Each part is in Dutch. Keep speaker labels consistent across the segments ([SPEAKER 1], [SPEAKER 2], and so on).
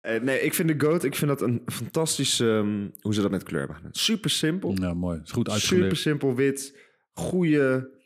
[SPEAKER 1] Eh, nee, ik vind de goat, ik vind dat een fantastisch, ehm, hoe ze dat met kleur hebben gedaan. Super simpel,
[SPEAKER 2] Ja, mooi. Is goed
[SPEAKER 1] super
[SPEAKER 2] uitgelegd.
[SPEAKER 1] simpel wit, goede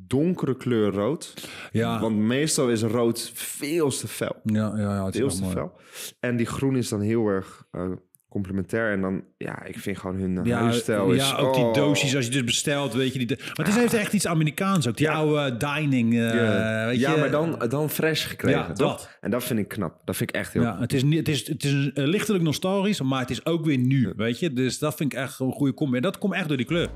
[SPEAKER 1] donkere kleur rood.
[SPEAKER 2] Ja,
[SPEAKER 1] Want meestal is rood veel te fel.
[SPEAKER 2] ja, ja, ja, het is
[SPEAKER 1] Veel
[SPEAKER 2] wel
[SPEAKER 1] te
[SPEAKER 2] mooi.
[SPEAKER 1] fel. En die groen is dan heel erg eh, complementair. En dan, ja, ik vind gewoon hun eh,
[SPEAKER 2] Ja,
[SPEAKER 1] huisstijl is...
[SPEAKER 2] ja, ook die
[SPEAKER 1] oh.
[SPEAKER 2] doosjes als je dus bestelt, weet je. Die, maar het is, heeft echt iets Amerikaans ook. Die oude dining, eh,
[SPEAKER 1] Ja.
[SPEAKER 2] weet
[SPEAKER 1] ja,
[SPEAKER 2] je.
[SPEAKER 1] maar dan, dan fresh gekregen,
[SPEAKER 2] Ja,
[SPEAKER 1] toch?
[SPEAKER 2] dat.
[SPEAKER 1] En dat vind ik knap. Dat vind ik echt heel
[SPEAKER 2] Ja, het is, niet- het is, het is eh, lichtelijk nostalgisch, maar het is ook weer nu, weet je. Dus dat vind ik echt een goede combi. En dat komt echt door die kleur.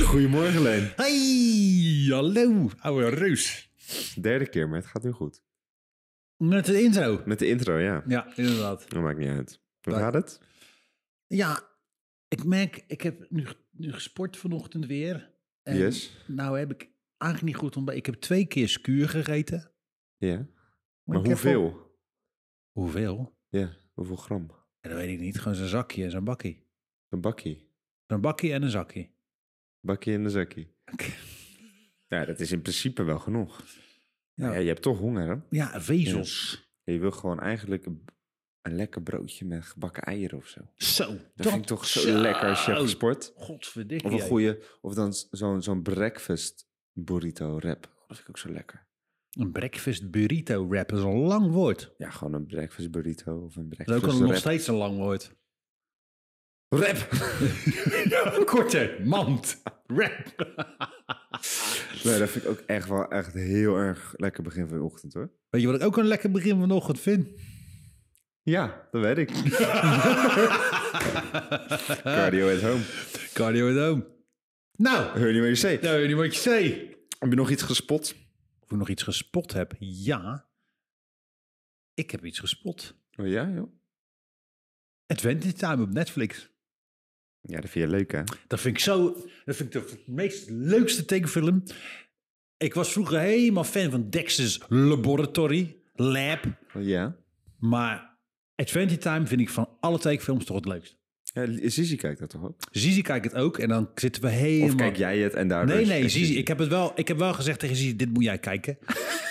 [SPEAKER 1] Goedemorgen, Leen.
[SPEAKER 2] Hey, hallo, oude reus.
[SPEAKER 1] Derde keer, maar het gaat nu goed.
[SPEAKER 2] Met de intro.
[SPEAKER 1] Met de intro, ja.
[SPEAKER 2] Ja, inderdaad.
[SPEAKER 1] Dat maakt niet uit. Hoe
[SPEAKER 2] Nee.
[SPEAKER 1] gaat het?
[SPEAKER 2] Ja, ik merk, ik heb nu, nu gesport vanochtend weer. En
[SPEAKER 1] Yes.
[SPEAKER 2] Nou heb ik eigenlijk niet goed ontbijt. Ik heb twee keer skuur gegeten. Maar
[SPEAKER 1] Ja. Maar
[SPEAKER 2] ik heb
[SPEAKER 1] hoeveel?
[SPEAKER 2] wel- hoeveel?
[SPEAKER 1] Ja, hoeveel gram?
[SPEAKER 2] Ja, dat weet ik niet. Gewoon zo'n zakje en zo'n bakkie.
[SPEAKER 1] Een bakkie.
[SPEAKER 2] Zo'n bakkie en een zakje.
[SPEAKER 1] Bakkie in de zakkie. Ja, dat is in principe wel genoeg.
[SPEAKER 2] Ja.
[SPEAKER 1] Ja. je hebt toch honger, hè?
[SPEAKER 2] Ja, vezels.
[SPEAKER 1] Je wil gewoon eigenlijk een, een lekker broodje met gebakken eieren of zo. Dat,
[SPEAKER 2] Zo. Dat,
[SPEAKER 1] vind ik toch zo, lekker als je hebt gesport.
[SPEAKER 2] Godverdikke.
[SPEAKER 1] Of een
[SPEAKER 2] jij.
[SPEAKER 1] goede, of dan z- zo'n zo'n breakfast burrito wrap. Oh, Dat vind ik ook zo lekker.
[SPEAKER 2] Een breakfast burrito wrap is een lang woord.
[SPEAKER 1] Ja, gewoon een breakfast burrito of een
[SPEAKER 2] Dat is
[SPEAKER 1] breakfast
[SPEAKER 2] ook al nog
[SPEAKER 1] wrap.
[SPEAKER 2] steeds een lang woord.
[SPEAKER 1] Wrap!
[SPEAKER 2] Korte mand. Wrap.
[SPEAKER 1] Nee, dat vind ik ook echt wel echt heel erg lekker begin van de ochtend, hoor.
[SPEAKER 2] Weet je wat ik ook een lekker begin vanochtend vind?
[SPEAKER 1] Ja, dat weet ik. Cardio at home.
[SPEAKER 2] Cardio at home. Nou,
[SPEAKER 1] Hoor je niet meer je zee.
[SPEAKER 2] nou weet je wat je zei.
[SPEAKER 1] Heb je nog iets gespot?
[SPEAKER 2] Of ik nog iets gespot heb? Ja, ik heb iets gespot.
[SPEAKER 1] Oh ja, joh.
[SPEAKER 2] Adventure Time op Netflix.
[SPEAKER 1] Ja, dat vind je leuk, hè?
[SPEAKER 2] Dat vind ik zo. Dat vind ik de meest leukste tekenfilm. Ik was vroeger helemaal fan van Dexter's Laboratory, Lab.
[SPEAKER 1] Oh, ja.
[SPEAKER 2] Maar Adventure Time vind ik van alle tekenfilms toch het leukst.
[SPEAKER 1] ja. Zizi kijkt dat toch ook?
[SPEAKER 2] Zizi kijkt het ook en dan zitten we
[SPEAKER 1] Of
[SPEAKER 2] helemaal...
[SPEAKER 1] kijk jij het en daardoor...
[SPEAKER 2] Nee,
[SPEAKER 1] is-
[SPEAKER 2] nee,
[SPEAKER 1] is
[SPEAKER 2] Zizi. Ik heb, het wel, ik heb wel gezegd tegen Zizi, dit moet jij kijken.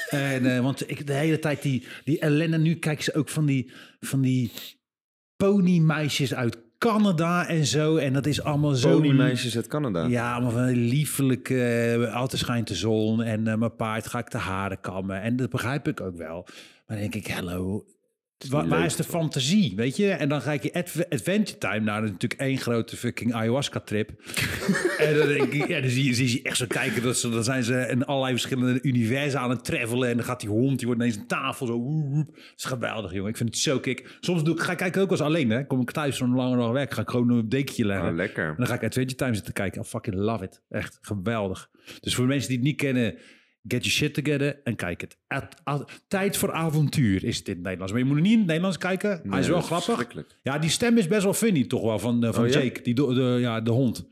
[SPEAKER 2] en, eh, want ik, de hele tijd die, die ellende, nu kijken ze ook van die, van die ponymeisjes uit Canada en zo. En dat is allemaal zo...
[SPEAKER 1] Ponymeisjes uit Canada.
[SPEAKER 2] Ja, maar van die liefelijke, eh, altijd schijnt de zon en eh, mijn paard ga ik de haren kammen. En dat begrijp ik ook wel. Maar dan denk ik, hello, wa-
[SPEAKER 1] niet
[SPEAKER 2] waar
[SPEAKER 1] leuk,
[SPEAKER 2] is de
[SPEAKER 1] toch?
[SPEAKER 2] fantasie, weet je? En dan ga ik je adv- Adventure Time naar dat is natuurlijk één grote fucking ayahuasca-trip. en dan, denk ik, ja, dan zie, je, zie je echt zo kijken, dat ze, dan zijn ze in allerlei verschillende universa aan het travelen. En dan gaat die hond, die wordt ineens een tafel, zo woep, woep. Het is geweldig, jongen. Ik vind het zo kick. Soms doe ik, ga ik kijken ook als alleen, hè. Kom ik thuis zo'n lange dag weg, ga ik gewoon op een dekentje leggen.
[SPEAKER 1] Oh, lekker.
[SPEAKER 2] En dan ga ik Adventure Time zitten kijken. I fucking love it. Echt geweldig. Dus voor de mensen die het niet kennen, get your shit together en kijk het. Ad- ad- Tijd voor avontuur is het in het Nederlands. Maar je moet hem niet in het Nederlands kijken. Hij
[SPEAKER 1] Nee,
[SPEAKER 2] is wel
[SPEAKER 1] dat is
[SPEAKER 2] grappig.
[SPEAKER 1] verschrikkelijk.
[SPEAKER 2] ja, die stem is best wel funny toch wel van, eh, van
[SPEAKER 1] Oh, ja?
[SPEAKER 2] Jake, die do- de, ja, de hond.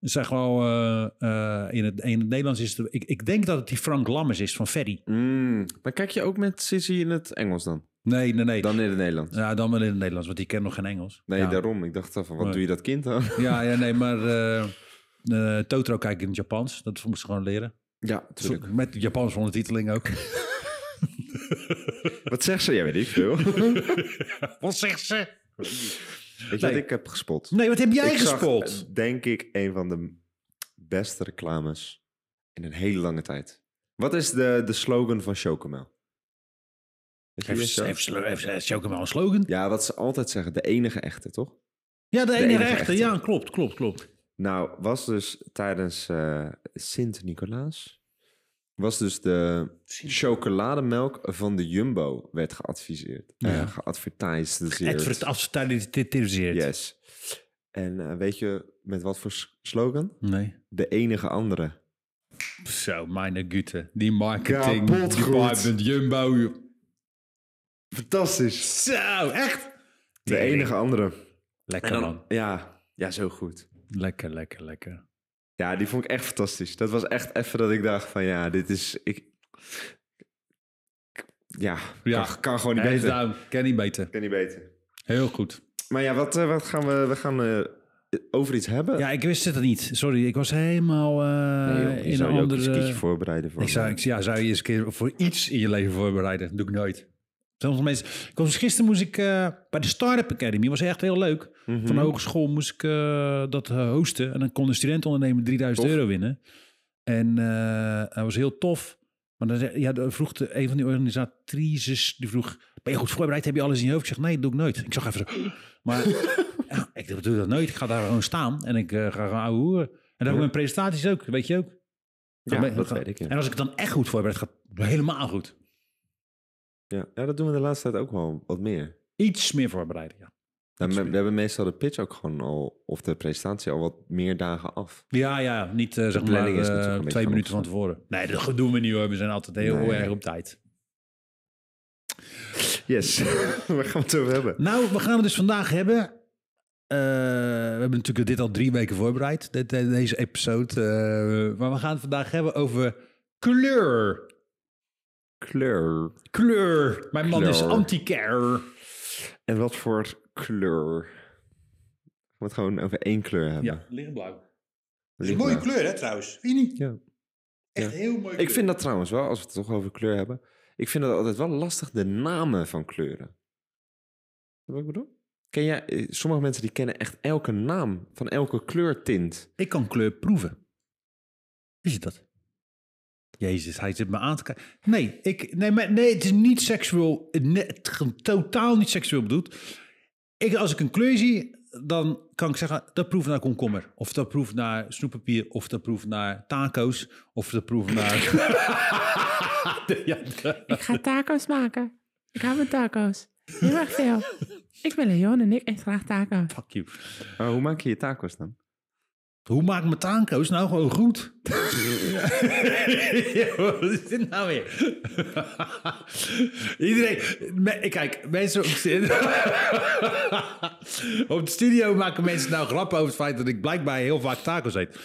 [SPEAKER 2] Zeg wel, eh, eh, in, het, in het Nederlands is het... Ik, ik denk dat het die Frank Lammers is van Ferry.
[SPEAKER 1] Mm, Maar kijk je ook met Zizi in het Engels dan?
[SPEAKER 2] Nee, nee, nee.
[SPEAKER 1] Dan in het Nederlands?
[SPEAKER 2] ja, dan wel in het Nederlands, want die kent nog geen Engels.
[SPEAKER 1] Nee,
[SPEAKER 2] ja.
[SPEAKER 1] daarom. Ik dacht dan van, wat
[SPEAKER 2] Nee.
[SPEAKER 1] doe je dat kind dan?
[SPEAKER 2] Ja, ja, nee, maar eh eh, Totoro kijk ik in het Japans. Dat moest ik gewoon leren.
[SPEAKER 1] Ja, natuurlijk.
[SPEAKER 2] Met Japans ondertiteling ook.
[SPEAKER 1] Wat zegt ze? Jij weet niet veel. Weet je
[SPEAKER 2] Wat zegt ze?
[SPEAKER 1] wat
[SPEAKER 2] Nee.
[SPEAKER 1] ik heb gespot?
[SPEAKER 2] Nee, wat heb jij
[SPEAKER 1] ik zag,
[SPEAKER 2] gespot?
[SPEAKER 1] eh, denk ik, een van de beste reclames in een hele lange tijd. Wat is de, de slogan van Chocomel? Weet je wie
[SPEAKER 2] Heeft
[SPEAKER 1] dat is?
[SPEAKER 2] heeft- heeft- heeft Chocomel een slogan?
[SPEAKER 1] Ja, wat ze altijd zeggen, de enige echte, toch?
[SPEAKER 2] Ja, de ene
[SPEAKER 1] enige
[SPEAKER 2] rechter.
[SPEAKER 1] echte.
[SPEAKER 2] Ja, klopt, klopt, klopt.
[SPEAKER 1] Nou, was dus tijdens eh, Sint-Nicolaas... was dus de chocolademelk van de Jumbo werd geadviseerd.
[SPEAKER 2] Ja.
[SPEAKER 1] Eh, geadvertiseerd.
[SPEAKER 2] Advert- Advertentiseerd.
[SPEAKER 1] Yes. En eh, weet je met wat voor s- slogan?
[SPEAKER 2] Nee.
[SPEAKER 1] De enige andere.
[SPEAKER 2] Zo, mijn gute. Die marketing.
[SPEAKER 1] Kapot
[SPEAKER 2] die
[SPEAKER 1] goed.
[SPEAKER 2] department, Jumbo. joh.
[SPEAKER 1] Fantastisch.
[SPEAKER 2] Zo, echt?
[SPEAKER 1] De enige andere.
[SPEAKER 2] Lekker man.
[SPEAKER 1] Ja, ja, zo goed.
[SPEAKER 2] Lekker, lekker, lekker.
[SPEAKER 1] Ja, die vond ik echt fantastisch. Dat was echt even dat ik dacht van ja, dit is... Ik, ja,
[SPEAKER 2] Ja.
[SPEAKER 1] Kan, kan gewoon niet
[SPEAKER 2] Hands
[SPEAKER 1] beter.
[SPEAKER 2] down. Ken niet beter.
[SPEAKER 1] Kan niet beter.
[SPEAKER 2] Heel goed.
[SPEAKER 1] Maar ja, wat, eh, wat gaan we... We gaan eh, over iets hebben?
[SPEAKER 2] Ja, ik wist het niet. Sorry, ik was helemaal eh,
[SPEAKER 1] Nee, joh, je
[SPEAKER 2] in
[SPEAKER 1] zou
[SPEAKER 2] een
[SPEAKER 1] je
[SPEAKER 2] andere...
[SPEAKER 1] ook een skietje voorbereiden voor.
[SPEAKER 2] Ik zou, ik- ja, zou je eens een keer voor iets in je leven voorbereiden. Dat doe ik nooit. Sommige mensen... Ik was, gisteren moest ik eh, bij de Startup Academy. was echt heel leuk.
[SPEAKER 1] Mhm.
[SPEAKER 2] Van de hogeschool moest ik eh, dat eh, hosten. En dan kon een studentondernemer 3000
[SPEAKER 1] Tof.
[SPEAKER 2] euro winnen. En eh dat was heel tof. Maar dan zei- ja, dan vroeg de, een van die organisatrices... Die vroeg, ben je goed voorbereid? Heb je alles in je hoofd? Ik zeg, nee, dat doe ik nooit. Ik zag even zo... Maar ja, ik doe- doe dat nooit. Ik ga daar gewoon staan. En ik eh, ga gewoon ouwe hoeren. En dan ook mijn presentaties ook. Weet je ook.
[SPEAKER 1] ja,
[SPEAKER 2] Dan ben-
[SPEAKER 1] dat
[SPEAKER 2] dan-
[SPEAKER 1] weet ik. Ja.
[SPEAKER 2] En als ik het dan echt goed voorbereid, gaat het helemaal goed.
[SPEAKER 1] Ja. ja, dat doen we de laatste tijd ook wel wat meer.
[SPEAKER 2] Iets meer voorbereiden, ja.
[SPEAKER 1] Nou, we, we hebben meestal de pitch ook gewoon al, of de presentatie al wat meer dagen af.
[SPEAKER 2] Ja, ja, niet eh, zeg maar
[SPEAKER 1] planning is
[SPEAKER 2] eh,
[SPEAKER 1] natuurlijk een
[SPEAKER 2] twee
[SPEAKER 1] beetje
[SPEAKER 2] minuten van tevoren. Nee, dat doen we niet hoor. We zijn altijd heel
[SPEAKER 1] Nee.
[SPEAKER 2] erg op tijd.
[SPEAKER 1] Yes, waar gaan we het over hebben?
[SPEAKER 2] Nou, we gaan het dus vandaag hebben. eh, we hebben natuurlijk dit al drie weken voorbereid, dit- eh, deze episode. eh, maar we gaan het vandaag hebben over kleur.
[SPEAKER 1] Kleur.
[SPEAKER 2] Kleur. Mijn man is
[SPEAKER 1] Kleur.
[SPEAKER 2] anti-care.
[SPEAKER 1] En wat voor kleur? We het gewoon over één kleur hebben.
[SPEAKER 2] Ja, lichtblauw.
[SPEAKER 1] Dat
[SPEAKER 2] Een
[SPEAKER 1] is
[SPEAKER 2] mooie
[SPEAKER 1] nou-
[SPEAKER 2] kleur, hè, trouwens. Vind je niet?
[SPEAKER 1] Ja.
[SPEAKER 2] Echt heel mooi.
[SPEAKER 1] Ik vind dat trouwens wel, als we het toch over kleur hebben. Ik vind dat altijd wel lastig, de namen van kleuren. Snap je Wat ik bedoel? Ken jij, eh, sommige mensen die kennen echt elke naam van elke kleurtint.
[SPEAKER 2] Ik kan kleur proeven. Wist je dat? Jezus, hij zit me aan te kijken. Nee, ik, nee, maar, nee het is niet seksueel. ne- het ge- totaal niet seksueel bedoeld. Ik, als ik een kleur zie, dan kan ik zeggen... dat proeft naar komkommer. Of dat proeft naar snoeppapier. Of dat proeft naar taco's. Of dat proeft naar... ja,
[SPEAKER 3] Ik ga taco's maken. Ik hou van taco's. Heel erg veel. Ik ben Leon en ik eet graag taco's.
[SPEAKER 2] fuck you.
[SPEAKER 1] Maar hoe maak je je tacos dan?
[SPEAKER 2] Hoe maak ik mijn taco's nou gewoon goed? Ja, wat is dit nou weer? Iedereen, me- kijk, mensen op de, op de studio maken mensen nou grappen over het feit dat ik blijkbaar heel vaak tacos eet.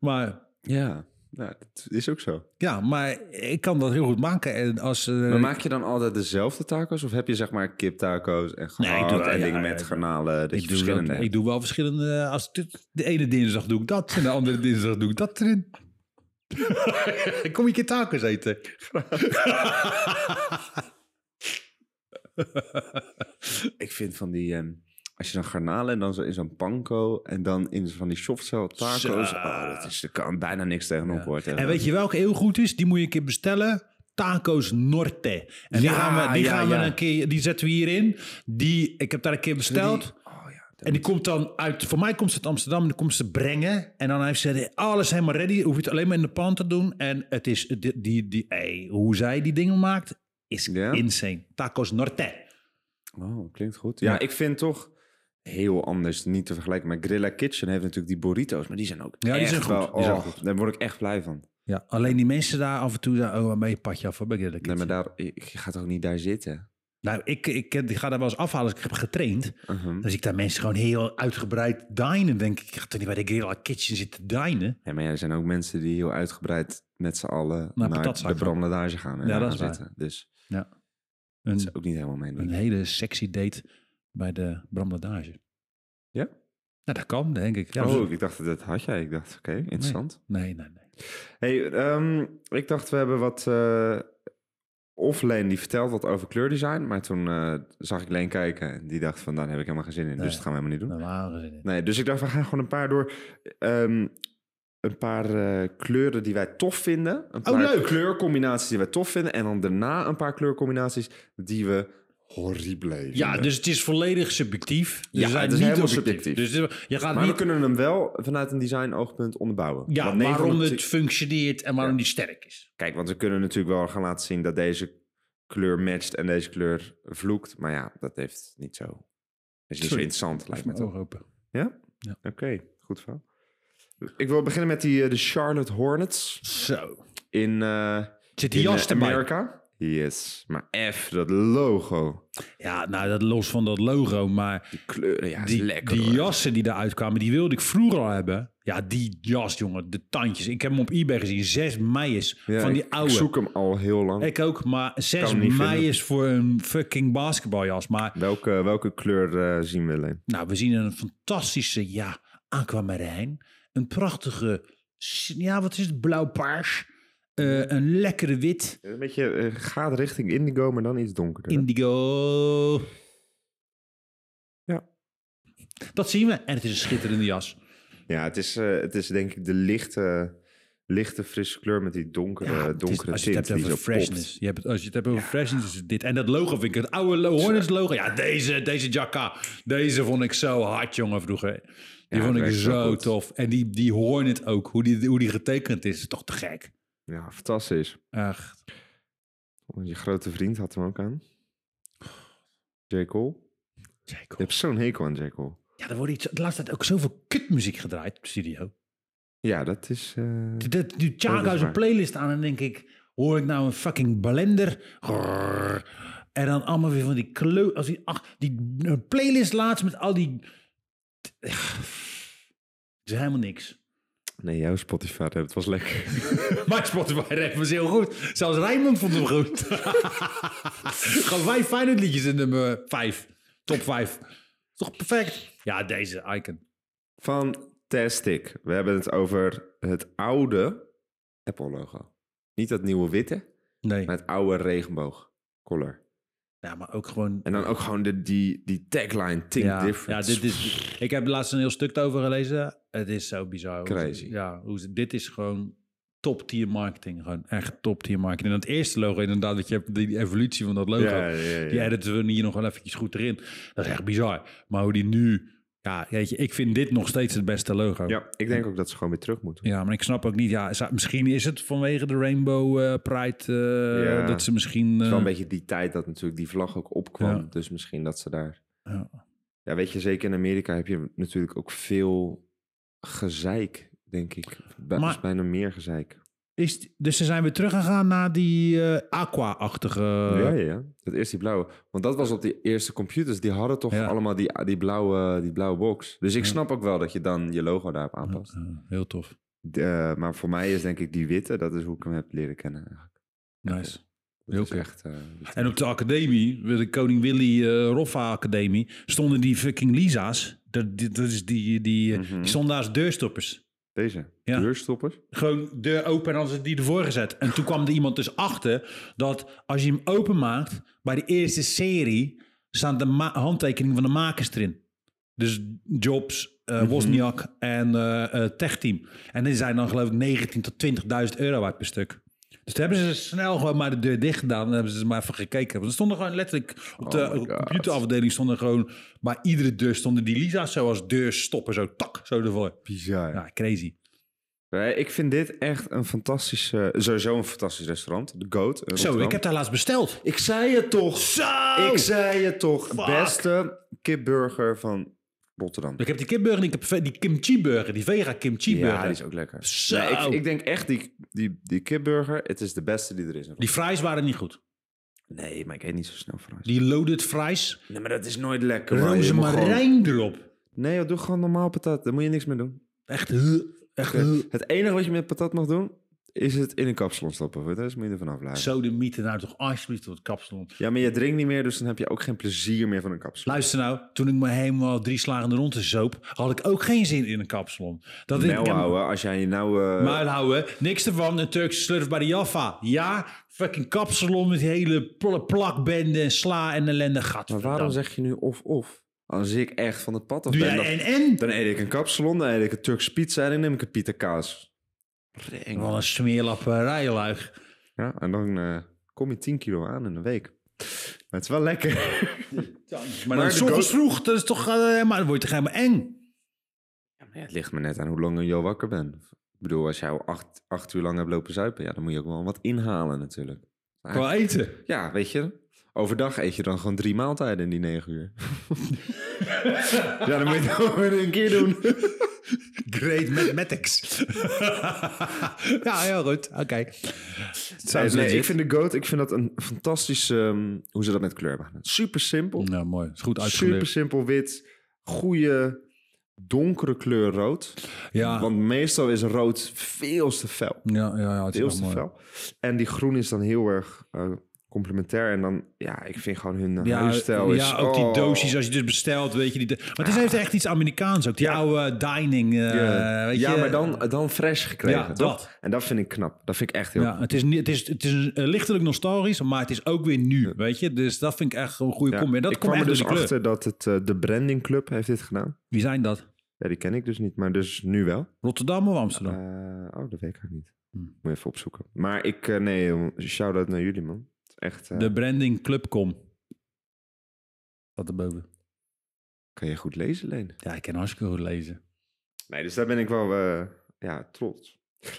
[SPEAKER 2] Maar
[SPEAKER 1] Ja, nou, dat is ook zo.
[SPEAKER 2] ja, maar ik kan dat heel goed maken. En als, eh,
[SPEAKER 1] Maar maak je dan altijd dezelfde tacos? Of heb je zeg maar kiptacos en gehakt
[SPEAKER 2] Nee, ik doe-
[SPEAKER 1] en
[SPEAKER 2] ja,
[SPEAKER 1] dingen
[SPEAKER 2] ja,
[SPEAKER 1] met
[SPEAKER 2] ik-
[SPEAKER 1] garnalen? Dat je
[SPEAKER 2] ik, doe wel-
[SPEAKER 1] verschillende
[SPEAKER 2] ik doe wel verschillende. Als dit- de ene dinsdag doe ik dat en de andere dinsdag doe ik dat erin. Kom je een keer tacos eten?
[SPEAKER 1] hebt? Ik vind van die... ehm, als je dan garnalen en dan zo in zo'n panko en dan in van die softcell tacos.
[SPEAKER 2] Zo.
[SPEAKER 1] Oh, dat is, er kan bijna niks tegenop worden.
[SPEAKER 2] En weet je welke heel goed is? Die moet je een keer bestellen. Tacos Norte. En die
[SPEAKER 1] Ja,
[SPEAKER 2] gaan we, die
[SPEAKER 1] ja,
[SPEAKER 2] gaan
[SPEAKER 1] ja.
[SPEAKER 2] we een keer, die zetten we hierin. Die, ik heb daar een keer besteld.
[SPEAKER 1] Oh ja,
[SPEAKER 2] en die komt dan uit, voor mij komt ze uit Amsterdam en die komt ze brengen. En dan heeft ze alles helemaal ready. Hoef je het alleen maar in de pan te doen. En het is, die, die, die, ey, hoe zij die dingen maakt, is
[SPEAKER 1] Ja?
[SPEAKER 2] insane. Tacos Norte.
[SPEAKER 1] Oh, klinkt goed. Ja,
[SPEAKER 2] Ja.
[SPEAKER 1] ik vind toch heel anders, niet te vergelijken. Maar Grilla Kitchen heeft natuurlijk die burritos, maar die zijn ook
[SPEAKER 2] Ja, die
[SPEAKER 1] echt
[SPEAKER 2] zijn goed.
[SPEAKER 1] wel-
[SPEAKER 2] Die zijn
[SPEAKER 1] oh, Daar word ik echt blij van.
[SPEAKER 2] Ja, alleen die mensen daar af en toe, daar, oh, mee padje af. hoor, ben ik eerlijk.
[SPEAKER 1] Nee, maar daar, je je gaat ook niet daar zitten.
[SPEAKER 2] Nou, ik, ik, ik ga daar wel eens afhalen. als Ik heb getraind.
[SPEAKER 1] Mhm.
[SPEAKER 2] Dan zie Dus ik daar mensen gewoon heel uitgebreid dinen. Denk ik, ik ga toch niet bij de Guerrilla Kitchen zitten dinen?
[SPEAKER 1] Ja, maar ja, er zijn ook mensen die heel uitgebreid met z'n allen
[SPEAKER 2] Naar
[SPEAKER 1] naar,
[SPEAKER 2] patatzaak
[SPEAKER 1] de
[SPEAKER 2] gaan.
[SPEAKER 1] brandladage gaan en
[SPEAKER 2] Ja, dat
[SPEAKER 1] daar
[SPEAKER 2] is waar.
[SPEAKER 1] zitten. Dus dat
[SPEAKER 2] Een,
[SPEAKER 1] is ook niet helemaal mijn
[SPEAKER 2] een
[SPEAKER 1] ding.
[SPEAKER 2] hele sexy date bij de Bramladage.
[SPEAKER 1] Ja?
[SPEAKER 2] Nou, dat kan, denk ik. Ja,
[SPEAKER 1] oh,
[SPEAKER 2] dus-
[SPEAKER 1] ik dacht, dat had jij. Ik dacht, oké, interessant.
[SPEAKER 2] Nee, nee, nee.
[SPEAKER 1] Hey, ehm, ik dacht, we hebben wat... eh of Leen die vertelt wat over kleurdesign, maar toen eh, zag ik Leen kijken en die dacht van, daar heb ik helemaal geen zin in,
[SPEAKER 2] Nee.
[SPEAKER 1] dus dat gaan we helemaal niet doen.
[SPEAKER 2] Daar waren ze niet.
[SPEAKER 1] Nee, dus ik dacht, we gaan gewoon een paar door. ehm, een paar eh, kleuren die wij tof vinden. Een paar
[SPEAKER 2] Oh, leuk.
[SPEAKER 1] kleurcombinaties die wij tof vinden. En dan daarna een paar kleurcombinaties die we horrible vinden.
[SPEAKER 2] Ja, dus het is volledig subjectief. Dus
[SPEAKER 1] Ja,
[SPEAKER 2] we zijn
[SPEAKER 1] het is
[SPEAKER 2] niet
[SPEAKER 1] helemaal
[SPEAKER 2] objectief.
[SPEAKER 1] subjectief.
[SPEAKER 2] Dus dit- je gaat
[SPEAKER 1] maar we
[SPEAKER 2] niet...
[SPEAKER 1] kunnen hem wel vanuit een design oogpunt onderbouwen.
[SPEAKER 2] Ja,
[SPEAKER 1] Want negen van
[SPEAKER 2] waarom
[SPEAKER 1] de
[SPEAKER 2] het
[SPEAKER 1] ti-
[SPEAKER 2] functioneert en waarom
[SPEAKER 1] Ja.
[SPEAKER 2] die sterk is.
[SPEAKER 1] Kijk, want we kunnen natuurlijk wel gaan laten zien dat deze kleur matcht en deze kleur vloekt. Maar ja, dat heeft niet zo... Dat is niet zo
[SPEAKER 2] Sorry.
[SPEAKER 1] interessant, lijkt me toch?
[SPEAKER 2] open.
[SPEAKER 1] Ja?
[SPEAKER 2] Ja.
[SPEAKER 1] Oké, goed verhaal. Ik wil beginnen met die, eh, de Charlotte Hornets.
[SPEAKER 2] Zo.
[SPEAKER 1] in, eh
[SPEAKER 2] Zit die
[SPEAKER 1] in
[SPEAKER 2] jas
[SPEAKER 1] eh,
[SPEAKER 2] erbij?
[SPEAKER 1] Amerika. Yes. Maar F, dat logo.
[SPEAKER 2] Ja, nou, dat los van dat logo, maar...
[SPEAKER 1] Die kleuren, ja,
[SPEAKER 2] die,
[SPEAKER 1] is lekker.
[SPEAKER 2] die
[SPEAKER 1] hoor.
[SPEAKER 2] jassen die eruit kwamen, die wilde ik vroeger al hebben. Ja, die jas, jongen. De tandjes. Ik heb hem op eBay gezien. 6 mei is
[SPEAKER 1] Ja,
[SPEAKER 2] van
[SPEAKER 1] ik-
[SPEAKER 2] die oude.
[SPEAKER 1] Ik
[SPEAKER 2] Ik,
[SPEAKER 1] zoek hem al heel lang.
[SPEAKER 2] ook, maar 6
[SPEAKER 1] hem niet
[SPEAKER 2] mei
[SPEAKER 1] vinden.
[SPEAKER 2] is voor een fucking basketbaljas. Maar
[SPEAKER 1] Welke, welke kleur eh, zien we alleen?
[SPEAKER 2] nou, we zien een fantastische, ja, aquamarijn. Een prachtige, s- ja, wat is het, blauw-paars. eh, een lekkere wit.
[SPEAKER 1] Een beetje eh, gaat richting indigo, maar dan iets donkerder.
[SPEAKER 2] Indigo.
[SPEAKER 1] Ja.
[SPEAKER 2] Dat zien we. En het is een schitterende jas.
[SPEAKER 1] Ja, het is, eh, het is denk ik de lichte, lichte frisse kleur met die donkere,
[SPEAKER 2] Ja, het is-
[SPEAKER 1] Eh, donkere
[SPEAKER 2] als je het
[SPEAKER 1] tint
[SPEAKER 2] hebt
[SPEAKER 1] die zo
[SPEAKER 2] over freshness.
[SPEAKER 1] popt.
[SPEAKER 2] Je hebt, het- als je het hebt over freshness, is het dit. En dat logo vind ik, het oude lo- Hornets logo. Ja, deze, deze jacka. Deze vond ik zo hard, jongen, vroeger. Die
[SPEAKER 1] Ja,
[SPEAKER 2] vond
[SPEAKER 1] het
[SPEAKER 2] ik
[SPEAKER 1] werkt wel
[SPEAKER 2] zo
[SPEAKER 1] goed.
[SPEAKER 2] tof. En die, die Hornet ook, hoe die, hoe die getekend is, is toch te gek.
[SPEAKER 1] Ja, fantastisch.
[SPEAKER 2] Echt.
[SPEAKER 1] Je grote vriend had hem ook aan. J. Cole. Je hebt zo'n hekel aan J. Cole.
[SPEAKER 2] Ja, er wordt iets, de laatste tijd ook zoveel kutmuziek gedraaid op de studio.
[SPEAKER 1] Ja, dat is... eh,
[SPEAKER 2] Dat doet
[SPEAKER 1] Dat
[SPEAKER 2] Thiago
[SPEAKER 1] is
[SPEAKER 2] zijn
[SPEAKER 1] waar.
[SPEAKER 2] playlist aan en denk ik... Hoor ik nou een fucking blender? Grrr. En dan allemaal weer van die kleu... Als die, ach, die een playlist laatst met al die... Het is helemaal niks.
[SPEAKER 1] Nee, jouw Spotify, dat was lekker.
[SPEAKER 2] Maar Spotify rap was heel goed. Zelfs Rijnmond vond hem goed. Gewoon vijf fijne liedjes in nummer vijf. Top vijf. Toch perfect? Ja, deze icon.
[SPEAKER 1] Fantastic. We hebben het over het oude Apple-logo. Niet dat nieuwe witte,
[SPEAKER 2] Nee.
[SPEAKER 1] maar het oude regenboogcolor.
[SPEAKER 2] Ja, maar ook gewoon...
[SPEAKER 1] En dan ook gewoon de, die, die tagline, Think
[SPEAKER 2] ja, ja,
[SPEAKER 1] Different.
[SPEAKER 2] dit is. Ik heb laatst een heel stuk over gelezen. Het is zo bizar. hoe ze-
[SPEAKER 1] Crazy.
[SPEAKER 2] ja, hoe ze- dit is gewoon top tier marketing. Gewoon echt top tier marketing. En dat eerste logo, inderdaad, dat je hebt die evolutie van dat logo.
[SPEAKER 1] Ja, ja, ja, ja.
[SPEAKER 2] Die editen we hier nog wel eventjes goed erin. Dat is echt bizar. Maar hoe die nu. Ja, weet je, ik vind dit nog steeds het beste logo.
[SPEAKER 1] Ja, ik denk ook dat ze gewoon weer terug moeten.
[SPEAKER 2] Ja, maar ik snap ook niet. Ja, zou- misschien is het vanwege de Rainbow eh, Pride eh,
[SPEAKER 1] Ja.
[SPEAKER 2] dat ze misschien.
[SPEAKER 1] Het is
[SPEAKER 2] eh,
[SPEAKER 1] wel een beetje die tijd dat natuurlijk die vlag ook opkwam.
[SPEAKER 2] Ja.
[SPEAKER 1] Dus misschien dat ze daar...
[SPEAKER 2] ja.
[SPEAKER 1] Ja, weet je, zeker in Amerika heb je natuurlijk ook veel gezeik, denk ik. Bij,
[SPEAKER 2] Maar-
[SPEAKER 1] is bijna meer gezeik.
[SPEAKER 2] Is, dus ze zijn weer teruggegaan naar die eh, aqua-achtige.
[SPEAKER 1] ja, ja, ja. Dat eerst die blauwe. Want dat was op die eerste computers. Die hadden toch
[SPEAKER 2] Ja.
[SPEAKER 1] allemaal die, die, blauwe, die blauwe box. Dus ik
[SPEAKER 2] Ja.
[SPEAKER 1] snap ook wel dat je dan je logo daarop aanpast.
[SPEAKER 2] Ja, eh, heel tof.
[SPEAKER 1] De- maar voor mij is denk ik die witte, dat is hoe ik hem heb leren kennen eigenlijk.
[SPEAKER 2] Nice.
[SPEAKER 1] Dat
[SPEAKER 2] Heel
[SPEAKER 1] is
[SPEAKER 2] cool.
[SPEAKER 1] echt... eh, dat-
[SPEAKER 2] En op de academie, de Koning Willy eh, Roffa Academie, stonden die fucking Lisa's. Dat, die- dat is die, die, eh,
[SPEAKER 1] Mhm.
[SPEAKER 2] die stonden als deurstoppers.
[SPEAKER 1] Deze.
[SPEAKER 2] Ja.
[SPEAKER 1] Deurstoppers.
[SPEAKER 2] Gewoon deur open en dan ze die ervoor gezet. En toen kwam er iemand dus achter dat als je hem openmaakt, bij de eerste serie staan de ma- handtekeningen van de makers erin. Dus Jobs,
[SPEAKER 1] Mhm.
[SPEAKER 2] eh Wozniak en eh eh Tech Team. En die zijn dan geloof ik 19.000 tot 20.000 euro waard per stuk. Dus toen hebben ze snel gewoon maar de deur dicht gedaan. En hebben ze maar even gekeken. Want er stonden gewoon letterlijk op de
[SPEAKER 1] Oh my God.
[SPEAKER 2] computerafdeling stonden gewoon... Bij iedere deur stonden die Lisa's zoals deurstoppen. Zo tak, zo ervoor.
[SPEAKER 1] Bizar.
[SPEAKER 2] Ja, crazy.
[SPEAKER 1] Nee, Ik vind dit echt een fantastisch... eh, sowieso een fantastisch restaurant. De Goat. in
[SPEAKER 2] Zo,
[SPEAKER 1] Rotterdam.
[SPEAKER 2] ik heb daar laatst besteld.
[SPEAKER 1] Ik zei het toch.
[SPEAKER 2] Zo!
[SPEAKER 1] Ik zei het toch.
[SPEAKER 2] Fuck.
[SPEAKER 1] Beste kipburger van Rotterdam.
[SPEAKER 2] Ik heb die kipburger en ik heb ve- die kimchi-burger, die vega kimchi-burger.
[SPEAKER 1] Ja, die
[SPEAKER 2] die,
[SPEAKER 1] is ook lekker.
[SPEAKER 2] Zo.
[SPEAKER 1] Nee, ik, ik denk echt, die, die, die kipburger, het is de beste die er is. in Rotterdam.
[SPEAKER 2] fries waren niet goed.
[SPEAKER 1] Nee, maar ik eet niet zo snel fries.
[SPEAKER 2] Die loaded fries,
[SPEAKER 1] Nee, maar dat is nooit lekker. man. Je moet gewoon-
[SPEAKER 2] rozemarijn erop.
[SPEAKER 1] Nee, joh, doe gewoon normaal patat. Daar moet je niks mee doen.
[SPEAKER 2] Echt, huh, echt, huh.
[SPEAKER 1] Het enige wat je met patat mag doen, is het in een kapsalon stoppen. Voor de rest moet je er vanaf blijven.
[SPEAKER 2] Zo de mythe nou toch alsjeblieft op het kapsalon.
[SPEAKER 1] Ja, maar je drinkt niet meer, dus dan heb je ook geen plezier meer van een kapsalon.
[SPEAKER 2] Luister nou, toen ik me helemaal drie slagende ronde zoop, had ik ook geen zin in een kapsalon. Dat ik, ik
[SPEAKER 1] Mel
[SPEAKER 2] heb-
[SPEAKER 1] houden, als jij je nou... eh,
[SPEAKER 2] Muil houden, niks ervan, een Turkse slurf bij de Jaffa. Ja, fucking kapsalon met die hele pl- plakbende en sla en ellende. Gat.
[SPEAKER 1] Maar waarom zeg je nu of-of? Als ik echt van het pad af
[SPEAKER 2] Doe
[SPEAKER 1] ben,
[SPEAKER 2] jij
[SPEAKER 1] dan-
[SPEAKER 2] en en?
[SPEAKER 1] Dan eet ik een kapsalon, dan eet ik een Turks pizza en dan neem ik een pita kaas.
[SPEAKER 2] Wat een eh, smeerlapperij, luig.
[SPEAKER 1] Ja, en dan eh, kom je 10 kilo aan in een week. Maar het is wel lekker.
[SPEAKER 2] Maar,
[SPEAKER 1] Maar
[SPEAKER 2] dan
[SPEAKER 1] de
[SPEAKER 2] s ochtends
[SPEAKER 1] goat-
[SPEAKER 2] vroeg, dat is toch, eh, maar dan word je toch helemaal eng.
[SPEAKER 1] het ligt me net aan hoe lang je wakker bent. Ik bedoel, als jij al acht, acht uur lang hebt lopen zuipen, ja, dan moet je ook wel wat inhalen natuurlijk.
[SPEAKER 2] Qua
[SPEAKER 1] Ah.
[SPEAKER 2] eten.
[SPEAKER 1] Ja, weet je, overdag eet je dan gewoon drie maaltijden in die negen uur. ja, dan moet je het wel weer een keer doen.
[SPEAKER 2] Great mathematics. ja, heel goed. Oké.
[SPEAKER 1] Nee,
[SPEAKER 2] Sounds
[SPEAKER 1] nee,
[SPEAKER 2] legit.
[SPEAKER 1] ik vind de goat, ik vind dat een fantastisch, ehm, hoe ze dat met kleur maken. Super simpel.
[SPEAKER 2] Nou, mooi. Is goed
[SPEAKER 1] Super
[SPEAKER 2] uitgelegd.
[SPEAKER 1] simpel wit. Goede donkere kleur rood.
[SPEAKER 2] Ja, ja,
[SPEAKER 1] Want meestal is rood veel te fel.
[SPEAKER 2] ja, ja, het is
[SPEAKER 1] Veel
[SPEAKER 2] wel
[SPEAKER 1] te
[SPEAKER 2] mooi.
[SPEAKER 1] fel. En die groen is dan heel erg eh, complementair. En dan, ja, ik vind gewoon hun eh,
[SPEAKER 2] Ja,
[SPEAKER 1] huisstijl is...
[SPEAKER 2] ja, ook die
[SPEAKER 1] oh.
[SPEAKER 2] doosjes als je dus bestelt, weet je. Die, maar het is, heeft echt iets Amerikaans ook. Die
[SPEAKER 1] Ja.
[SPEAKER 2] oude dining, eh,
[SPEAKER 1] Ja,
[SPEAKER 2] weet
[SPEAKER 1] ja
[SPEAKER 2] je. eh,
[SPEAKER 1] maar dan, dan fresh gekregen,
[SPEAKER 2] Ja,
[SPEAKER 1] toch?
[SPEAKER 2] dat.
[SPEAKER 1] En dat vind ik knap. Dat vind ik echt heel
[SPEAKER 2] Ja, het is, niet, het is, het is eh, lichtelijk nostalgisch, maar het is ook weer nu, weet je. Dus dat vind ik echt een goede
[SPEAKER 1] Ja,
[SPEAKER 2] combi. En dat
[SPEAKER 1] ik
[SPEAKER 2] komt
[SPEAKER 1] kwam er
[SPEAKER 2] echt
[SPEAKER 1] dus
[SPEAKER 2] door die kleur.
[SPEAKER 1] achter dat het, eh, de Branding Club heeft dit gedaan.
[SPEAKER 2] Wie zijn dat?
[SPEAKER 1] Ja, die ken ik dus niet, maar dus nu wel.
[SPEAKER 2] Rotterdam of Amsterdam?
[SPEAKER 1] Eh, oh, dat weet ik ook niet.
[SPEAKER 2] Hm.
[SPEAKER 1] Moet je even opzoeken. Maar ik, eh, nee, jongen, shout-out naar jullie, man. Het is Echt, eh,
[SPEAKER 2] De branding Clubcom. Staat erboven.
[SPEAKER 1] kan je goed lezen, Leen.
[SPEAKER 2] Ja, ik kan hartstikke goed lezen.
[SPEAKER 1] Nee, dus daar ben ik wel eh, ja, trots.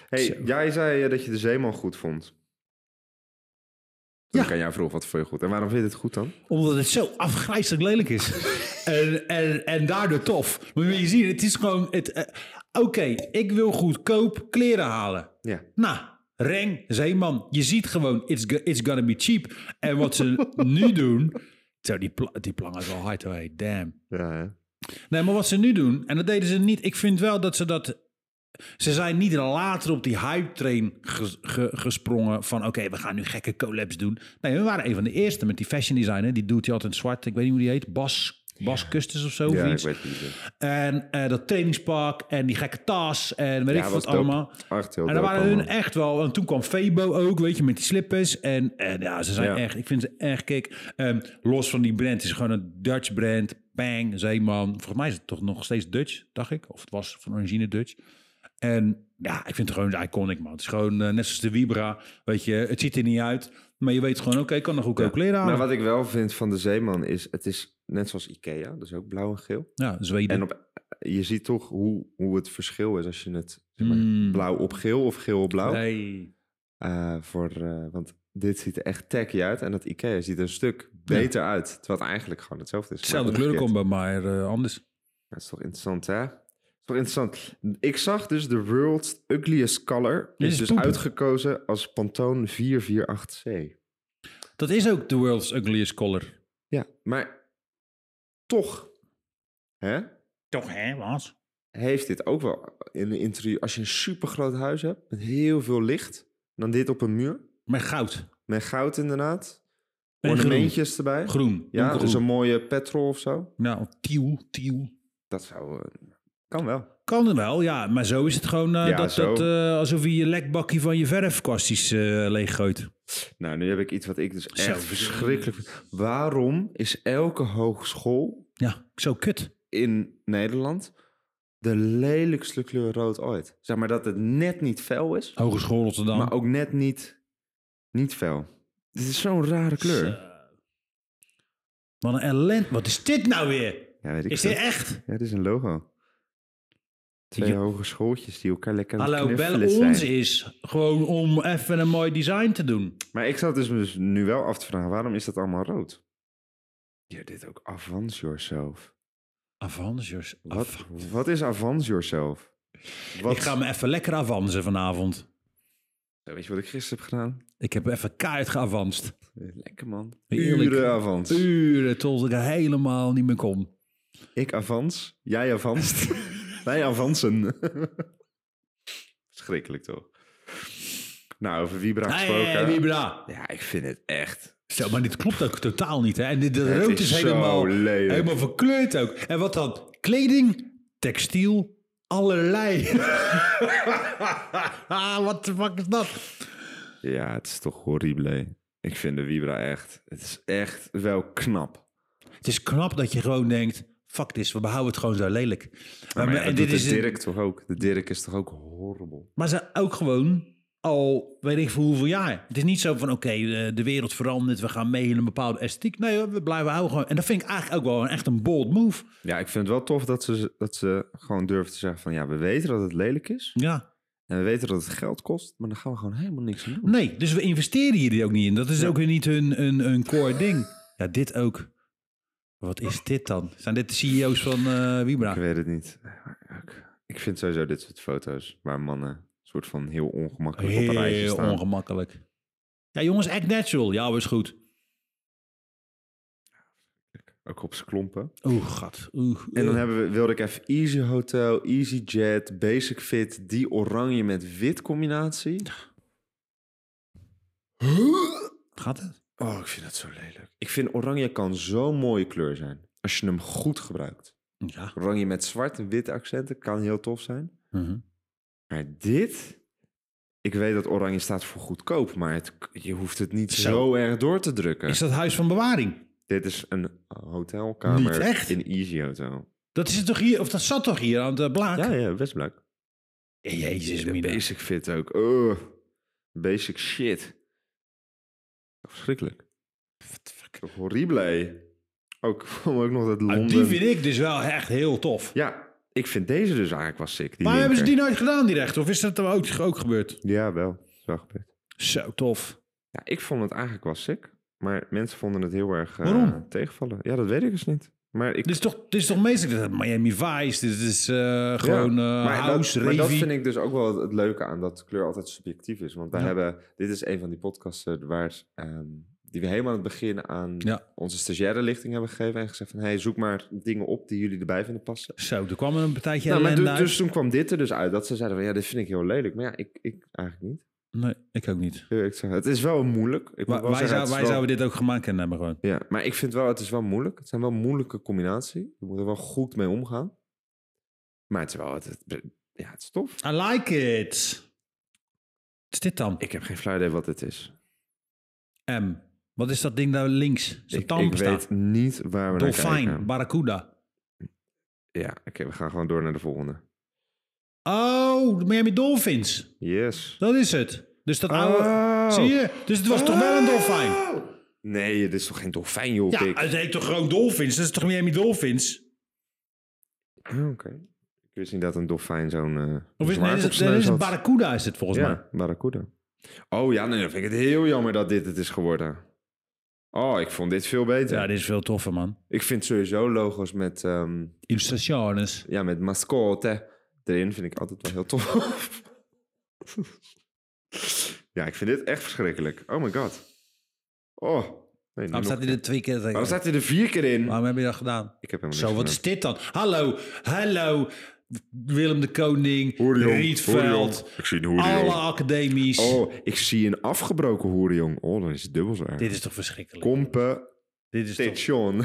[SPEAKER 1] Hey,
[SPEAKER 2] Zo.
[SPEAKER 1] jij zei eh, dat je de Zeeman goed vond.
[SPEAKER 2] Ja.
[SPEAKER 1] Dan kan jij vroeg wat vond je goed. En waarom vind je het goed dan?
[SPEAKER 2] Omdat het zo afgrijzelijk lelijk is. en, en, en daardoor tof. Maar je ziet, het is gewoon... het, eh, Oké, ik wil goedkoop kleren halen.
[SPEAKER 1] Ja.
[SPEAKER 2] Nou, Reng, Zeeman, je ziet gewoon, it's, go- it's gonna be cheap. En wat ze nu doen... Zo, die, pla die plank is wel hard hoor, hey, damn.
[SPEAKER 1] Ja, hè?
[SPEAKER 2] Nee, maar wat ze nu doen, en dat deden ze niet... Ik vind wel dat ze dat... Ze zijn niet later op die hype train ges- ge- gesprongen van... oké, we gaan nu gekke collabs doen. Nee, we waren een van de eerste met die fashion designer. Die doet die altijd zwart, ik weet niet hoe die heet. Bas, Bas Custis of zo. of
[SPEAKER 1] ja ik
[SPEAKER 2] iets.
[SPEAKER 1] weet het niet.
[SPEAKER 2] En eh, dat trainingspak en die gekke tas en weet
[SPEAKER 1] Ja,
[SPEAKER 2] ik veel
[SPEAKER 1] was
[SPEAKER 2] wat
[SPEAKER 1] dope.
[SPEAKER 2] allemaal.
[SPEAKER 1] Echt heel dope
[SPEAKER 2] En daar waren hun
[SPEAKER 1] allemaal.
[SPEAKER 2] echt wel. En toen kwam Febo ook, weet je, met die slippers. En, en ja, ze zijn
[SPEAKER 1] Ja.
[SPEAKER 2] echt, ik vind ze echt kick. Ehm, los van die brand, het is gewoon een Dutch brand. Bang, Zeeman. Volgens mij is het toch nog steeds Dutch, dacht ik. Of het was van origine Dutch. En ja, ik vind het gewoon iconic, man. Het is gewoon eh, net zoals de Vibra, weet je. Het ziet er niet uit, maar je weet gewoon, oké, ik kan nog goedkoop kleren
[SPEAKER 1] Maar
[SPEAKER 2] aan.
[SPEAKER 1] Nou, wat ik wel vind van de Zeeman is... Het is net zoals Ikea, dus ook blauw en geel.
[SPEAKER 2] Ja, Zweden.
[SPEAKER 1] En op, je ziet toch hoe, hoe het verschil is als je het... Zeg maar,
[SPEAKER 2] Mm.
[SPEAKER 1] Blauw op geel of geel op blauw.
[SPEAKER 2] Nee.
[SPEAKER 1] Eh, voor, eh, want dit ziet er echt tacky uit. En dat Ikea ziet er een stuk beter uit. Terwijl het eigenlijk gewoon hetzelfde is. maar
[SPEAKER 2] Hetzelfde
[SPEAKER 1] omgekeerd.
[SPEAKER 2] kleurencombo, maar eh, anders.
[SPEAKER 1] Dat is toch interessant, hè? Dat is toch interessant. Ik zag dus de World's Ugliest Color.
[SPEAKER 2] Dit
[SPEAKER 1] Is,
[SPEAKER 2] is
[SPEAKER 1] dus
[SPEAKER 2] poep.
[SPEAKER 1] uitgekozen als Pantone 448C.
[SPEAKER 2] Dat is ook The World's Ugliest Color.
[SPEAKER 1] Ja, maar toch hè,
[SPEAKER 2] Toch, hè, Bas?
[SPEAKER 1] heeft dit ook wel in een interieur... Als je een supergroot huis hebt met heel veel licht... dan dit op een muur,
[SPEAKER 2] Met goud.
[SPEAKER 1] met goud inderdaad...
[SPEAKER 2] En
[SPEAKER 1] Ornamentjes erbij.
[SPEAKER 2] Groen.
[SPEAKER 1] Ja,
[SPEAKER 2] Donkergroen.
[SPEAKER 1] dus een mooie petrol of zo.
[SPEAKER 2] Nou, tiel, tiel.
[SPEAKER 1] Dat zou... eh, kan wel.
[SPEAKER 2] Kan er wel, ja. Maar zo is het gewoon eh,
[SPEAKER 1] Ja,
[SPEAKER 2] dat,
[SPEAKER 1] zo.
[SPEAKER 2] dat eh, alsof je je lekbakje van je verfkastjes eh leeggooit.
[SPEAKER 1] Nou, nu heb ik iets wat ik dus
[SPEAKER 2] Zo.
[SPEAKER 1] echt verschrikkelijk vind. Waarom is elke hogeschool
[SPEAKER 2] Ja, zo kut.
[SPEAKER 1] in Nederland de lelijkste kleur rood ooit? Zeg maar dat het net niet fel is,
[SPEAKER 2] Hogeschool Rotterdam.
[SPEAKER 1] maar ook net niet, niet fel. Dit is zo'n rare kleur.
[SPEAKER 2] Zo. Dus, eh, Wat een ellend. Wat is dit nou weer?
[SPEAKER 1] Ja, weet ik
[SPEAKER 2] Is
[SPEAKER 1] veel.
[SPEAKER 2] dit echt?
[SPEAKER 1] Ja, dit is een logo. Twee
[SPEAKER 2] Ja.
[SPEAKER 1] hogeschooltjes die elkaar lekker aan het
[SPEAKER 2] Hallo, bel
[SPEAKER 1] knuffelen zijn.
[SPEAKER 2] ons is gewoon om even een mooi design te doen.
[SPEAKER 1] Maar ik zat dus me nu wel af te vragen, waarom is dat allemaal rood? Ja, dit ook Avance Yourself.
[SPEAKER 2] Avansers.
[SPEAKER 1] Wat, wat is Avance Yourself? Wat,
[SPEAKER 2] Ik ga me even lekker avansen vanavond.
[SPEAKER 1] Weet je wat ik gisteren heb gedaan?
[SPEAKER 2] Ik heb even kaart geavanst.
[SPEAKER 1] Lekker man.
[SPEAKER 2] Heerlijk.
[SPEAKER 1] Uren Avance.
[SPEAKER 2] Uren tot ik er helemaal niet meer kon.
[SPEAKER 1] Ik avans, jij avanst, wij avansen. Schrikkelijk toch? Nou, over Vibra gesproken.
[SPEAKER 2] Hey, Vibra.
[SPEAKER 1] Ja, ik vind het echt.
[SPEAKER 2] Zo, maar dit klopt ook totaal niet. Hè? En dit, de
[SPEAKER 1] Het
[SPEAKER 2] rood is,
[SPEAKER 1] is zo
[SPEAKER 2] helemaal,
[SPEAKER 1] lelijk.
[SPEAKER 2] helemaal verkleurd ook. En wat dan? Kleding, textiel, allerlei. wat de fuck is dat?
[SPEAKER 1] Ja, het is toch horrible. Ik vind de Vibra echt. Het is echt wel knap.
[SPEAKER 2] Het is knap dat je gewoon denkt... Fuck this, we behouden het gewoon zo lelijk.
[SPEAKER 1] Maar,
[SPEAKER 2] maar-
[SPEAKER 1] ja,
[SPEAKER 2] en
[SPEAKER 1] dat
[SPEAKER 2] dit
[SPEAKER 1] doet
[SPEAKER 2] is
[SPEAKER 1] de
[SPEAKER 2] een-
[SPEAKER 1] Dirk toch ook? De Dirk is toch ook horrible?
[SPEAKER 2] Maar ze ook gewoon al weet ik voor hoeveel jaar. Het is niet zo van oké, eh, de wereld verandert, we gaan mee in een bepaalde esthetiek. Nee, hoor, we blijven houden gewoon. En dat vind ik eigenlijk ook wel een, echt een bold move.
[SPEAKER 1] Ja, ik vind het wel tof dat ze, dat ze gewoon durven te zeggen van... ja, we weten dat het lelijk is
[SPEAKER 2] Ja.
[SPEAKER 1] en we weten dat het geld kost... maar dan gaan we gewoon helemaal niks aan doen.
[SPEAKER 2] Nee, dus we investeren hier ook niet in. Dat is ook weer niet hun, een een core ding. Ja, dit ook. Wat is dit dan? Zijn dit de CEO's van eh Vibra?
[SPEAKER 1] Ik weet het niet. Ik- Ik vind sowieso dit soort foto's waar mannen soort van heel ongemakkelijk op een rijtje
[SPEAKER 2] Heel
[SPEAKER 1] staan.
[SPEAKER 2] ongemakkelijk. Ja, jongens, act natural. Ja, is goed.
[SPEAKER 1] Ook op z'n klompen.
[SPEAKER 2] Oeh, gat. Oeh.
[SPEAKER 1] En dan hebben we, wilde ik even Easy Hotel, Easy Jet, Basic Fit, die oranje met wit combinatie.
[SPEAKER 2] Gaat het?
[SPEAKER 1] Oh, ik vind dat zo lelijk. Ik vind oranje kan zo'n mooie kleur zijn. Als je hem goed gebruikt.
[SPEAKER 2] Ja.
[SPEAKER 1] Oranje met zwart en witte accenten kan heel tof zijn.
[SPEAKER 2] Mhm.
[SPEAKER 1] Maar dit... Ik weet dat oranje staat voor goedkoop, maar het, je hoeft het niet
[SPEAKER 2] Zo.
[SPEAKER 1] zo, erg door te drukken.
[SPEAKER 2] Is dat huis van bewaring?
[SPEAKER 1] Dit is een hotelkamer
[SPEAKER 2] Niet echt?
[SPEAKER 1] in Easy Hotel.
[SPEAKER 2] Dat is het toch hier, of dat zat toch hier aan de blaak?
[SPEAKER 1] Ja, ja, best leuk.
[SPEAKER 2] Jezus,
[SPEAKER 1] De
[SPEAKER 2] mina.
[SPEAKER 1] basic fit ook. Ugh. Basic shit. Verschrikkelijk. Horrible. Ook, ook nog dat
[SPEAKER 2] Ah,
[SPEAKER 1] Londen.
[SPEAKER 2] die vind ik dus wel echt heel tof.
[SPEAKER 1] Ja, ik vind deze dus eigenlijk wel sick. Die
[SPEAKER 2] maar hebben ze
[SPEAKER 1] linker.
[SPEAKER 2] die nooit gedaan, die rechter? Of is dat er ook, ook gebeurd?
[SPEAKER 1] Ja, wel. Dat is wel gebeurd.
[SPEAKER 2] Zo tof.
[SPEAKER 1] Ja, ik vond het eigenlijk wel sick. Maar mensen vonden het heel erg eh,
[SPEAKER 2] Waarom?
[SPEAKER 1] tegenvallen. Ja, dat weet ik dus niet. Maar ik...
[SPEAKER 2] Dit is toch, dit is toch meestal dat Miami Vice, dit is eh,
[SPEAKER 1] Ja,
[SPEAKER 2] gewoon eh,
[SPEAKER 1] maar
[SPEAKER 2] house,
[SPEAKER 1] dat, maar
[SPEAKER 2] revie.
[SPEAKER 1] dat vind ik dus ook wel het, het leuke aan dat kleur altijd subjectief is. Want wij
[SPEAKER 2] Ja.
[SPEAKER 1] hebben, dit is een van die podcasten waar, ehm, die we helemaal aan het begin aan
[SPEAKER 2] Ja.
[SPEAKER 1] onze stagiaire lichting hebben gegeven. En gezegd van, hey, zoek maar dingen op die jullie erbij vinden passen.
[SPEAKER 2] Zo, er kwam een partijtje
[SPEAKER 1] nou, maar
[SPEAKER 2] ellende
[SPEAKER 1] du-
[SPEAKER 2] uit.
[SPEAKER 1] dus toen kwam dit er dus uit. Dat ze zeiden van, ja, dit vind ik heel lelijk. Maar ja, ik, ik eigenlijk niet.
[SPEAKER 2] Nee, ik ook niet.
[SPEAKER 1] Heel eerlijk zeggen. Het is wel moeilijk. Ik moet
[SPEAKER 2] Wa-
[SPEAKER 1] wel
[SPEAKER 2] wij
[SPEAKER 1] zeggen,
[SPEAKER 2] zou-
[SPEAKER 1] het is
[SPEAKER 2] wij
[SPEAKER 1] wel-
[SPEAKER 2] zouden dit ook gemaakt kunnen hebben gewoon.
[SPEAKER 1] Ja, maar ik vind wel, het is wel moeilijk. Het zijn wel moeilijke combinatie. Je moet er wel goed mee omgaan. Maar het is wel, het, het- ja, het is tof.
[SPEAKER 2] I like it. Wat is dit dan?
[SPEAKER 1] Ik heb geen flauw idee wat dit is.
[SPEAKER 2] M. Wat is dat ding daar links? Zijn
[SPEAKER 1] Ik, ik
[SPEAKER 2] tand staat.
[SPEAKER 1] weet niet waar we naar
[SPEAKER 2] Dolfijn,
[SPEAKER 1] kijken.
[SPEAKER 2] barracuda.
[SPEAKER 1] Ja, oké, we gaan gewoon door naar de volgende.
[SPEAKER 2] Oh, de Miami Dolphins.
[SPEAKER 1] Yes.
[SPEAKER 2] Dat is het. Dus dat oude...
[SPEAKER 1] Oh.
[SPEAKER 2] Zie je? Dus het was toch wel een dolfijn?
[SPEAKER 1] Nee, dit is toch geen dolfijn, joh,
[SPEAKER 2] Ja,
[SPEAKER 1] pik?
[SPEAKER 2] het heet toch gewoon Dolphins? Dat is toch Miami Dolphins?
[SPEAKER 1] Ah, Oké. Ik wist niet dat een dolfijn zo'n eh
[SPEAKER 2] Of is, nee,
[SPEAKER 1] zwaard
[SPEAKER 2] dat
[SPEAKER 1] op
[SPEAKER 2] is,
[SPEAKER 1] zijn
[SPEAKER 2] dat
[SPEAKER 1] neus
[SPEAKER 2] is een
[SPEAKER 1] had.
[SPEAKER 2] barracuda is het volgens mij.
[SPEAKER 1] Ja, barracuda. Oh ja, nee, dan vind ik het heel jammer dat dit het is geworden. Oh, ik vond dit veel beter.
[SPEAKER 2] Ja, dit is veel toffer, man.
[SPEAKER 1] Ik vind sowieso logo's met, ehm,
[SPEAKER 2] Illustrationes.
[SPEAKER 1] ja, met mascotte erin vind ik altijd wel heel tof. ja, ik vind dit echt verschrikkelijk. Oh my god. Oh. Nee, nu
[SPEAKER 2] Waarom staat
[SPEAKER 1] nog-
[SPEAKER 2] hij er twee keer tegen?
[SPEAKER 1] Waarom staat hij er vier keer in?
[SPEAKER 2] Waarom heb je dat gedaan?
[SPEAKER 1] Ik heb hem
[SPEAKER 2] Zo, wat is dit dan? Hallo, hallo. Willem de Koning, Rietveld,
[SPEAKER 1] Ik zie een
[SPEAKER 2] alle academies.
[SPEAKER 1] Oh, ik zie een afgebroken hoerjong. Oh, dan is het dubbel zo erg.
[SPEAKER 2] Dit is toch verschrikkelijk? dit, is toch,
[SPEAKER 1] Competition.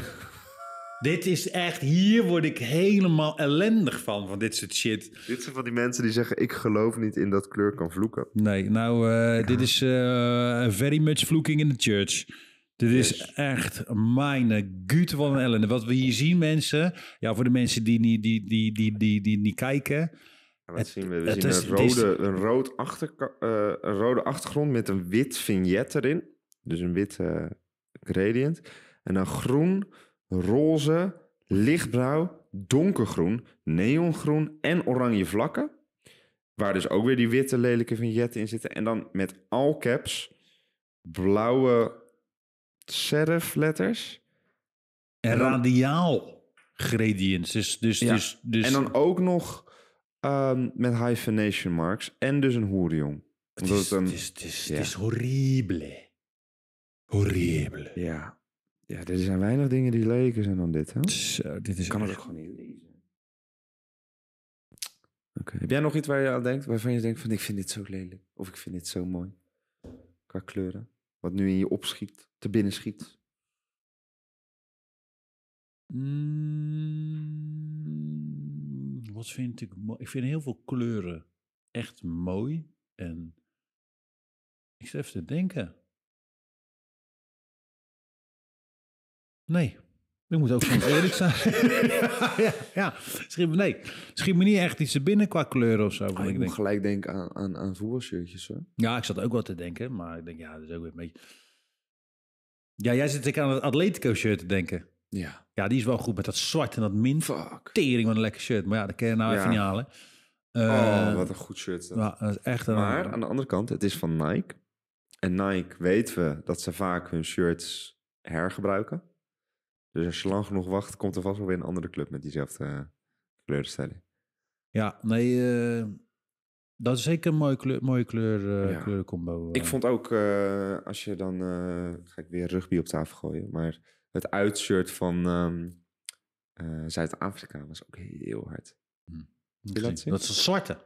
[SPEAKER 2] dit is echt, hier word ik helemaal ellendig van, van dit soort shit.
[SPEAKER 1] Dit zijn van die mensen die zeggen... ik geloof niet in dat kleur kan vloeken.
[SPEAKER 2] Nee, nou, eh, dit is eh, very much vloeking in the church. Dit is echt mijn gute van een ellende. Wat we hier zien, mensen. Ja, voor de mensen die niet die, die, die, die, die, niet kijken.
[SPEAKER 1] En wat zien we? We
[SPEAKER 2] het
[SPEAKER 1] zien
[SPEAKER 2] is-
[SPEAKER 1] een,
[SPEAKER 2] het is-
[SPEAKER 1] rode, een, rood achterka- eh, een rode achtergrond met een wit vignet erin. Dus een wit eh, gradient. En dan groen, roze, lichtbruin, donkergroen, neongroen en oranje vlakken. Waar dus ook weer die witte lelijke vignetten in zitten. En dan met all caps blauwe serif letters.
[SPEAKER 2] En
[SPEAKER 1] En dan-
[SPEAKER 2] radiaal gradients. Dus, dus,
[SPEAKER 1] Ja.
[SPEAKER 2] dus, dus
[SPEAKER 1] En dan ook nog ehm, met hyphenation marks. En dus een hoerjong.
[SPEAKER 2] Het
[SPEAKER 1] Omdat
[SPEAKER 2] is,
[SPEAKER 1] het een-
[SPEAKER 2] het is, het is, het
[SPEAKER 1] ja.
[SPEAKER 2] is horrible. Horrible.
[SPEAKER 1] Ja. Ja, er zijn weinig dingen die lelijker zijn dan dit, hè?
[SPEAKER 2] Zo, dit is echt-
[SPEAKER 1] gewoon niet lezen. Oké. Heb jij nog iets waar je aan denkt, waarvan je denkt van ik vind dit zo lelijk of ik vind dit zo mooi qua kleuren, wat nu in je opschiet, te binnen
[SPEAKER 2] Oh,
[SPEAKER 1] schiet?
[SPEAKER 2] Mm, wat vind ik mooi? Ik vind heel veel kleuren echt mooi. En ik zit even te denken. Nee, ik moet ook gewoon eerlijk zijn. ja, ja. Schiet me, nee, schiet me niet echt iets te binnen qua kleuren of zo.
[SPEAKER 1] Oh,
[SPEAKER 2] want
[SPEAKER 1] ik
[SPEAKER 2] ik
[SPEAKER 1] moet
[SPEAKER 2] denk,
[SPEAKER 1] gelijk denken aan, aan, aan voetbalshirtjes, hoor.
[SPEAKER 2] Ja, ik zat ook wel te denken, maar ik denk, ja, dat is ook weer een beetje... Ja, jij zit ik aan het Atletico-shirt te denken.
[SPEAKER 1] Ja.
[SPEAKER 2] Ja, die is wel goed met dat zwart en dat mint.
[SPEAKER 1] Fuck.
[SPEAKER 2] Tering, wat een lekker shirt. Maar ja, dat kun je nou
[SPEAKER 1] Ja.
[SPEAKER 2] even niet halen. Eh,
[SPEAKER 1] Oh, wat een goed shirt. is dat.
[SPEAKER 2] ja, dat is echt een...
[SPEAKER 1] Maar aan de andere kant, het is van Nike. En Nike weten we dat ze vaak hun shirts hergebruiken. Dus als je lang genoeg wacht, komt er vast wel weer een andere club met diezelfde eh, kleurenstelling.
[SPEAKER 2] Ja, nee, eh, dat is zeker een mooie, kleur, mooie kleur, eh,
[SPEAKER 1] Ja.
[SPEAKER 2] kleurencombo. eh.
[SPEAKER 1] Ik vond ook, eh, als je dan... eh, ga ik weer rugby op tafel gooien. Maar het uitshirt van ehm, eh, Zuid-Afrika was ook heel hard. je dat zien?
[SPEAKER 2] dat is een zwarte.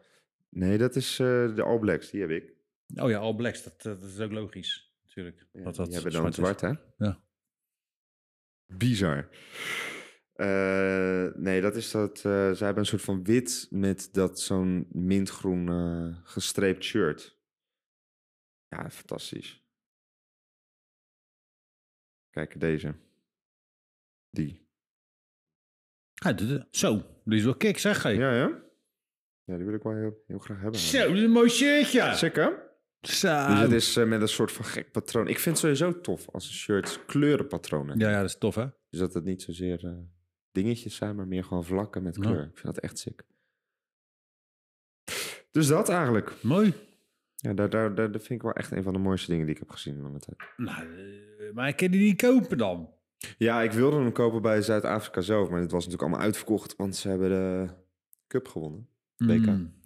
[SPEAKER 1] Nee, dat is eh, de All Blacks. Die heb ik.
[SPEAKER 2] Oh ja, All Blacks, dat, dat eh, is ook logisch. natuurlijk.
[SPEAKER 1] Ja,
[SPEAKER 2] dat dat
[SPEAKER 1] die hebben dan
[SPEAKER 2] zwart is.
[SPEAKER 1] zwart, hè?
[SPEAKER 2] Ja.
[SPEAKER 1] Bizar. Eh, nee, dat is dat. eh zij hebben een soort van wit met dat zo'n mintgroen eh, gestreept shirt. Ja, fantastisch. Kijk, deze. Die.
[SPEAKER 2] Ja, dit is- zo, die is wel kick, zeg je.
[SPEAKER 1] Ja, ja. Ja, die wil ik wel heel, heel graag hebben.
[SPEAKER 2] Zo, Ah. dat is een mooi shirtje.
[SPEAKER 1] Zeker.
[SPEAKER 2] Zo.
[SPEAKER 1] Dus het is eh, met een soort van gek patroon. Ik vind het sowieso tof als een shirt kleurenpatronen. heeft.
[SPEAKER 2] Ja, ja, dat is tof, hè?
[SPEAKER 1] Dus dat het niet zozeer eh, dingetjes zijn, maar meer gewoon vlakken met
[SPEAKER 2] Ja.
[SPEAKER 1] kleur. Ik vind dat echt sick. Dus dat eigenlijk.
[SPEAKER 2] Mooi.
[SPEAKER 1] Ja, daar, daar, daar, dat vind ik wel echt een van de mooiste dingen die ik heb gezien in lange tijd.
[SPEAKER 2] Nou, eh, maar ik kan die niet kopen dan.
[SPEAKER 1] Ja, ik wilde hem kopen bij Zuid-Afrika zelf, maar dit was natuurlijk allemaal uitverkocht, want ze hebben de cup gewonnen. WK.
[SPEAKER 2] Mm,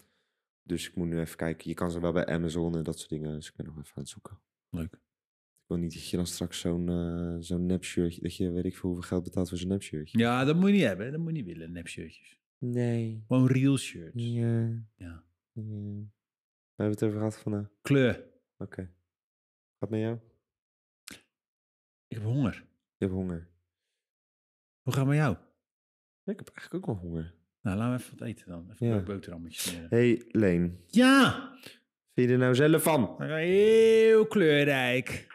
[SPEAKER 1] Dus ik moet nu even kijken. Je kan ze wel bij Amazon en dat soort dingen, dus ik ben nog even aan het zoeken.
[SPEAKER 2] Leuk.
[SPEAKER 1] Ik wil niet dat je dan straks zo'n eh, zo'n nepshirtje, dat je weet ik veel hoeveel geld betaalt voor zo'n nepshirtje.
[SPEAKER 2] Ja, dat moet je niet hebben. Dat moet je niet willen, nepshirtjes.
[SPEAKER 1] Nee.
[SPEAKER 2] Gewoon real shirts.
[SPEAKER 1] Ja.
[SPEAKER 2] Ja.
[SPEAKER 1] Ja. We hebben het over gehad eh, vandaag.
[SPEAKER 2] Kleur.
[SPEAKER 1] Oké. Wat met jou?
[SPEAKER 2] Ik heb honger.
[SPEAKER 1] Je hebt honger.
[SPEAKER 2] Hoe gaat het met jou?
[SPEAKER 1] Ik heb eigenlijk ook wel honger.
[SPEAKER 2] Nou, laten we even wat eten dan. Even
[SPEAKER 1] Ja.
[SPEAKER 2] een boterhammetjes smeren.
[SPEAKER 1] hey, Leen.
[SPEAKER 2] Ja!
[SPEAKER 1] Vind je er nou zelf van?
[SPEAKER 2] Heel kleurrijk.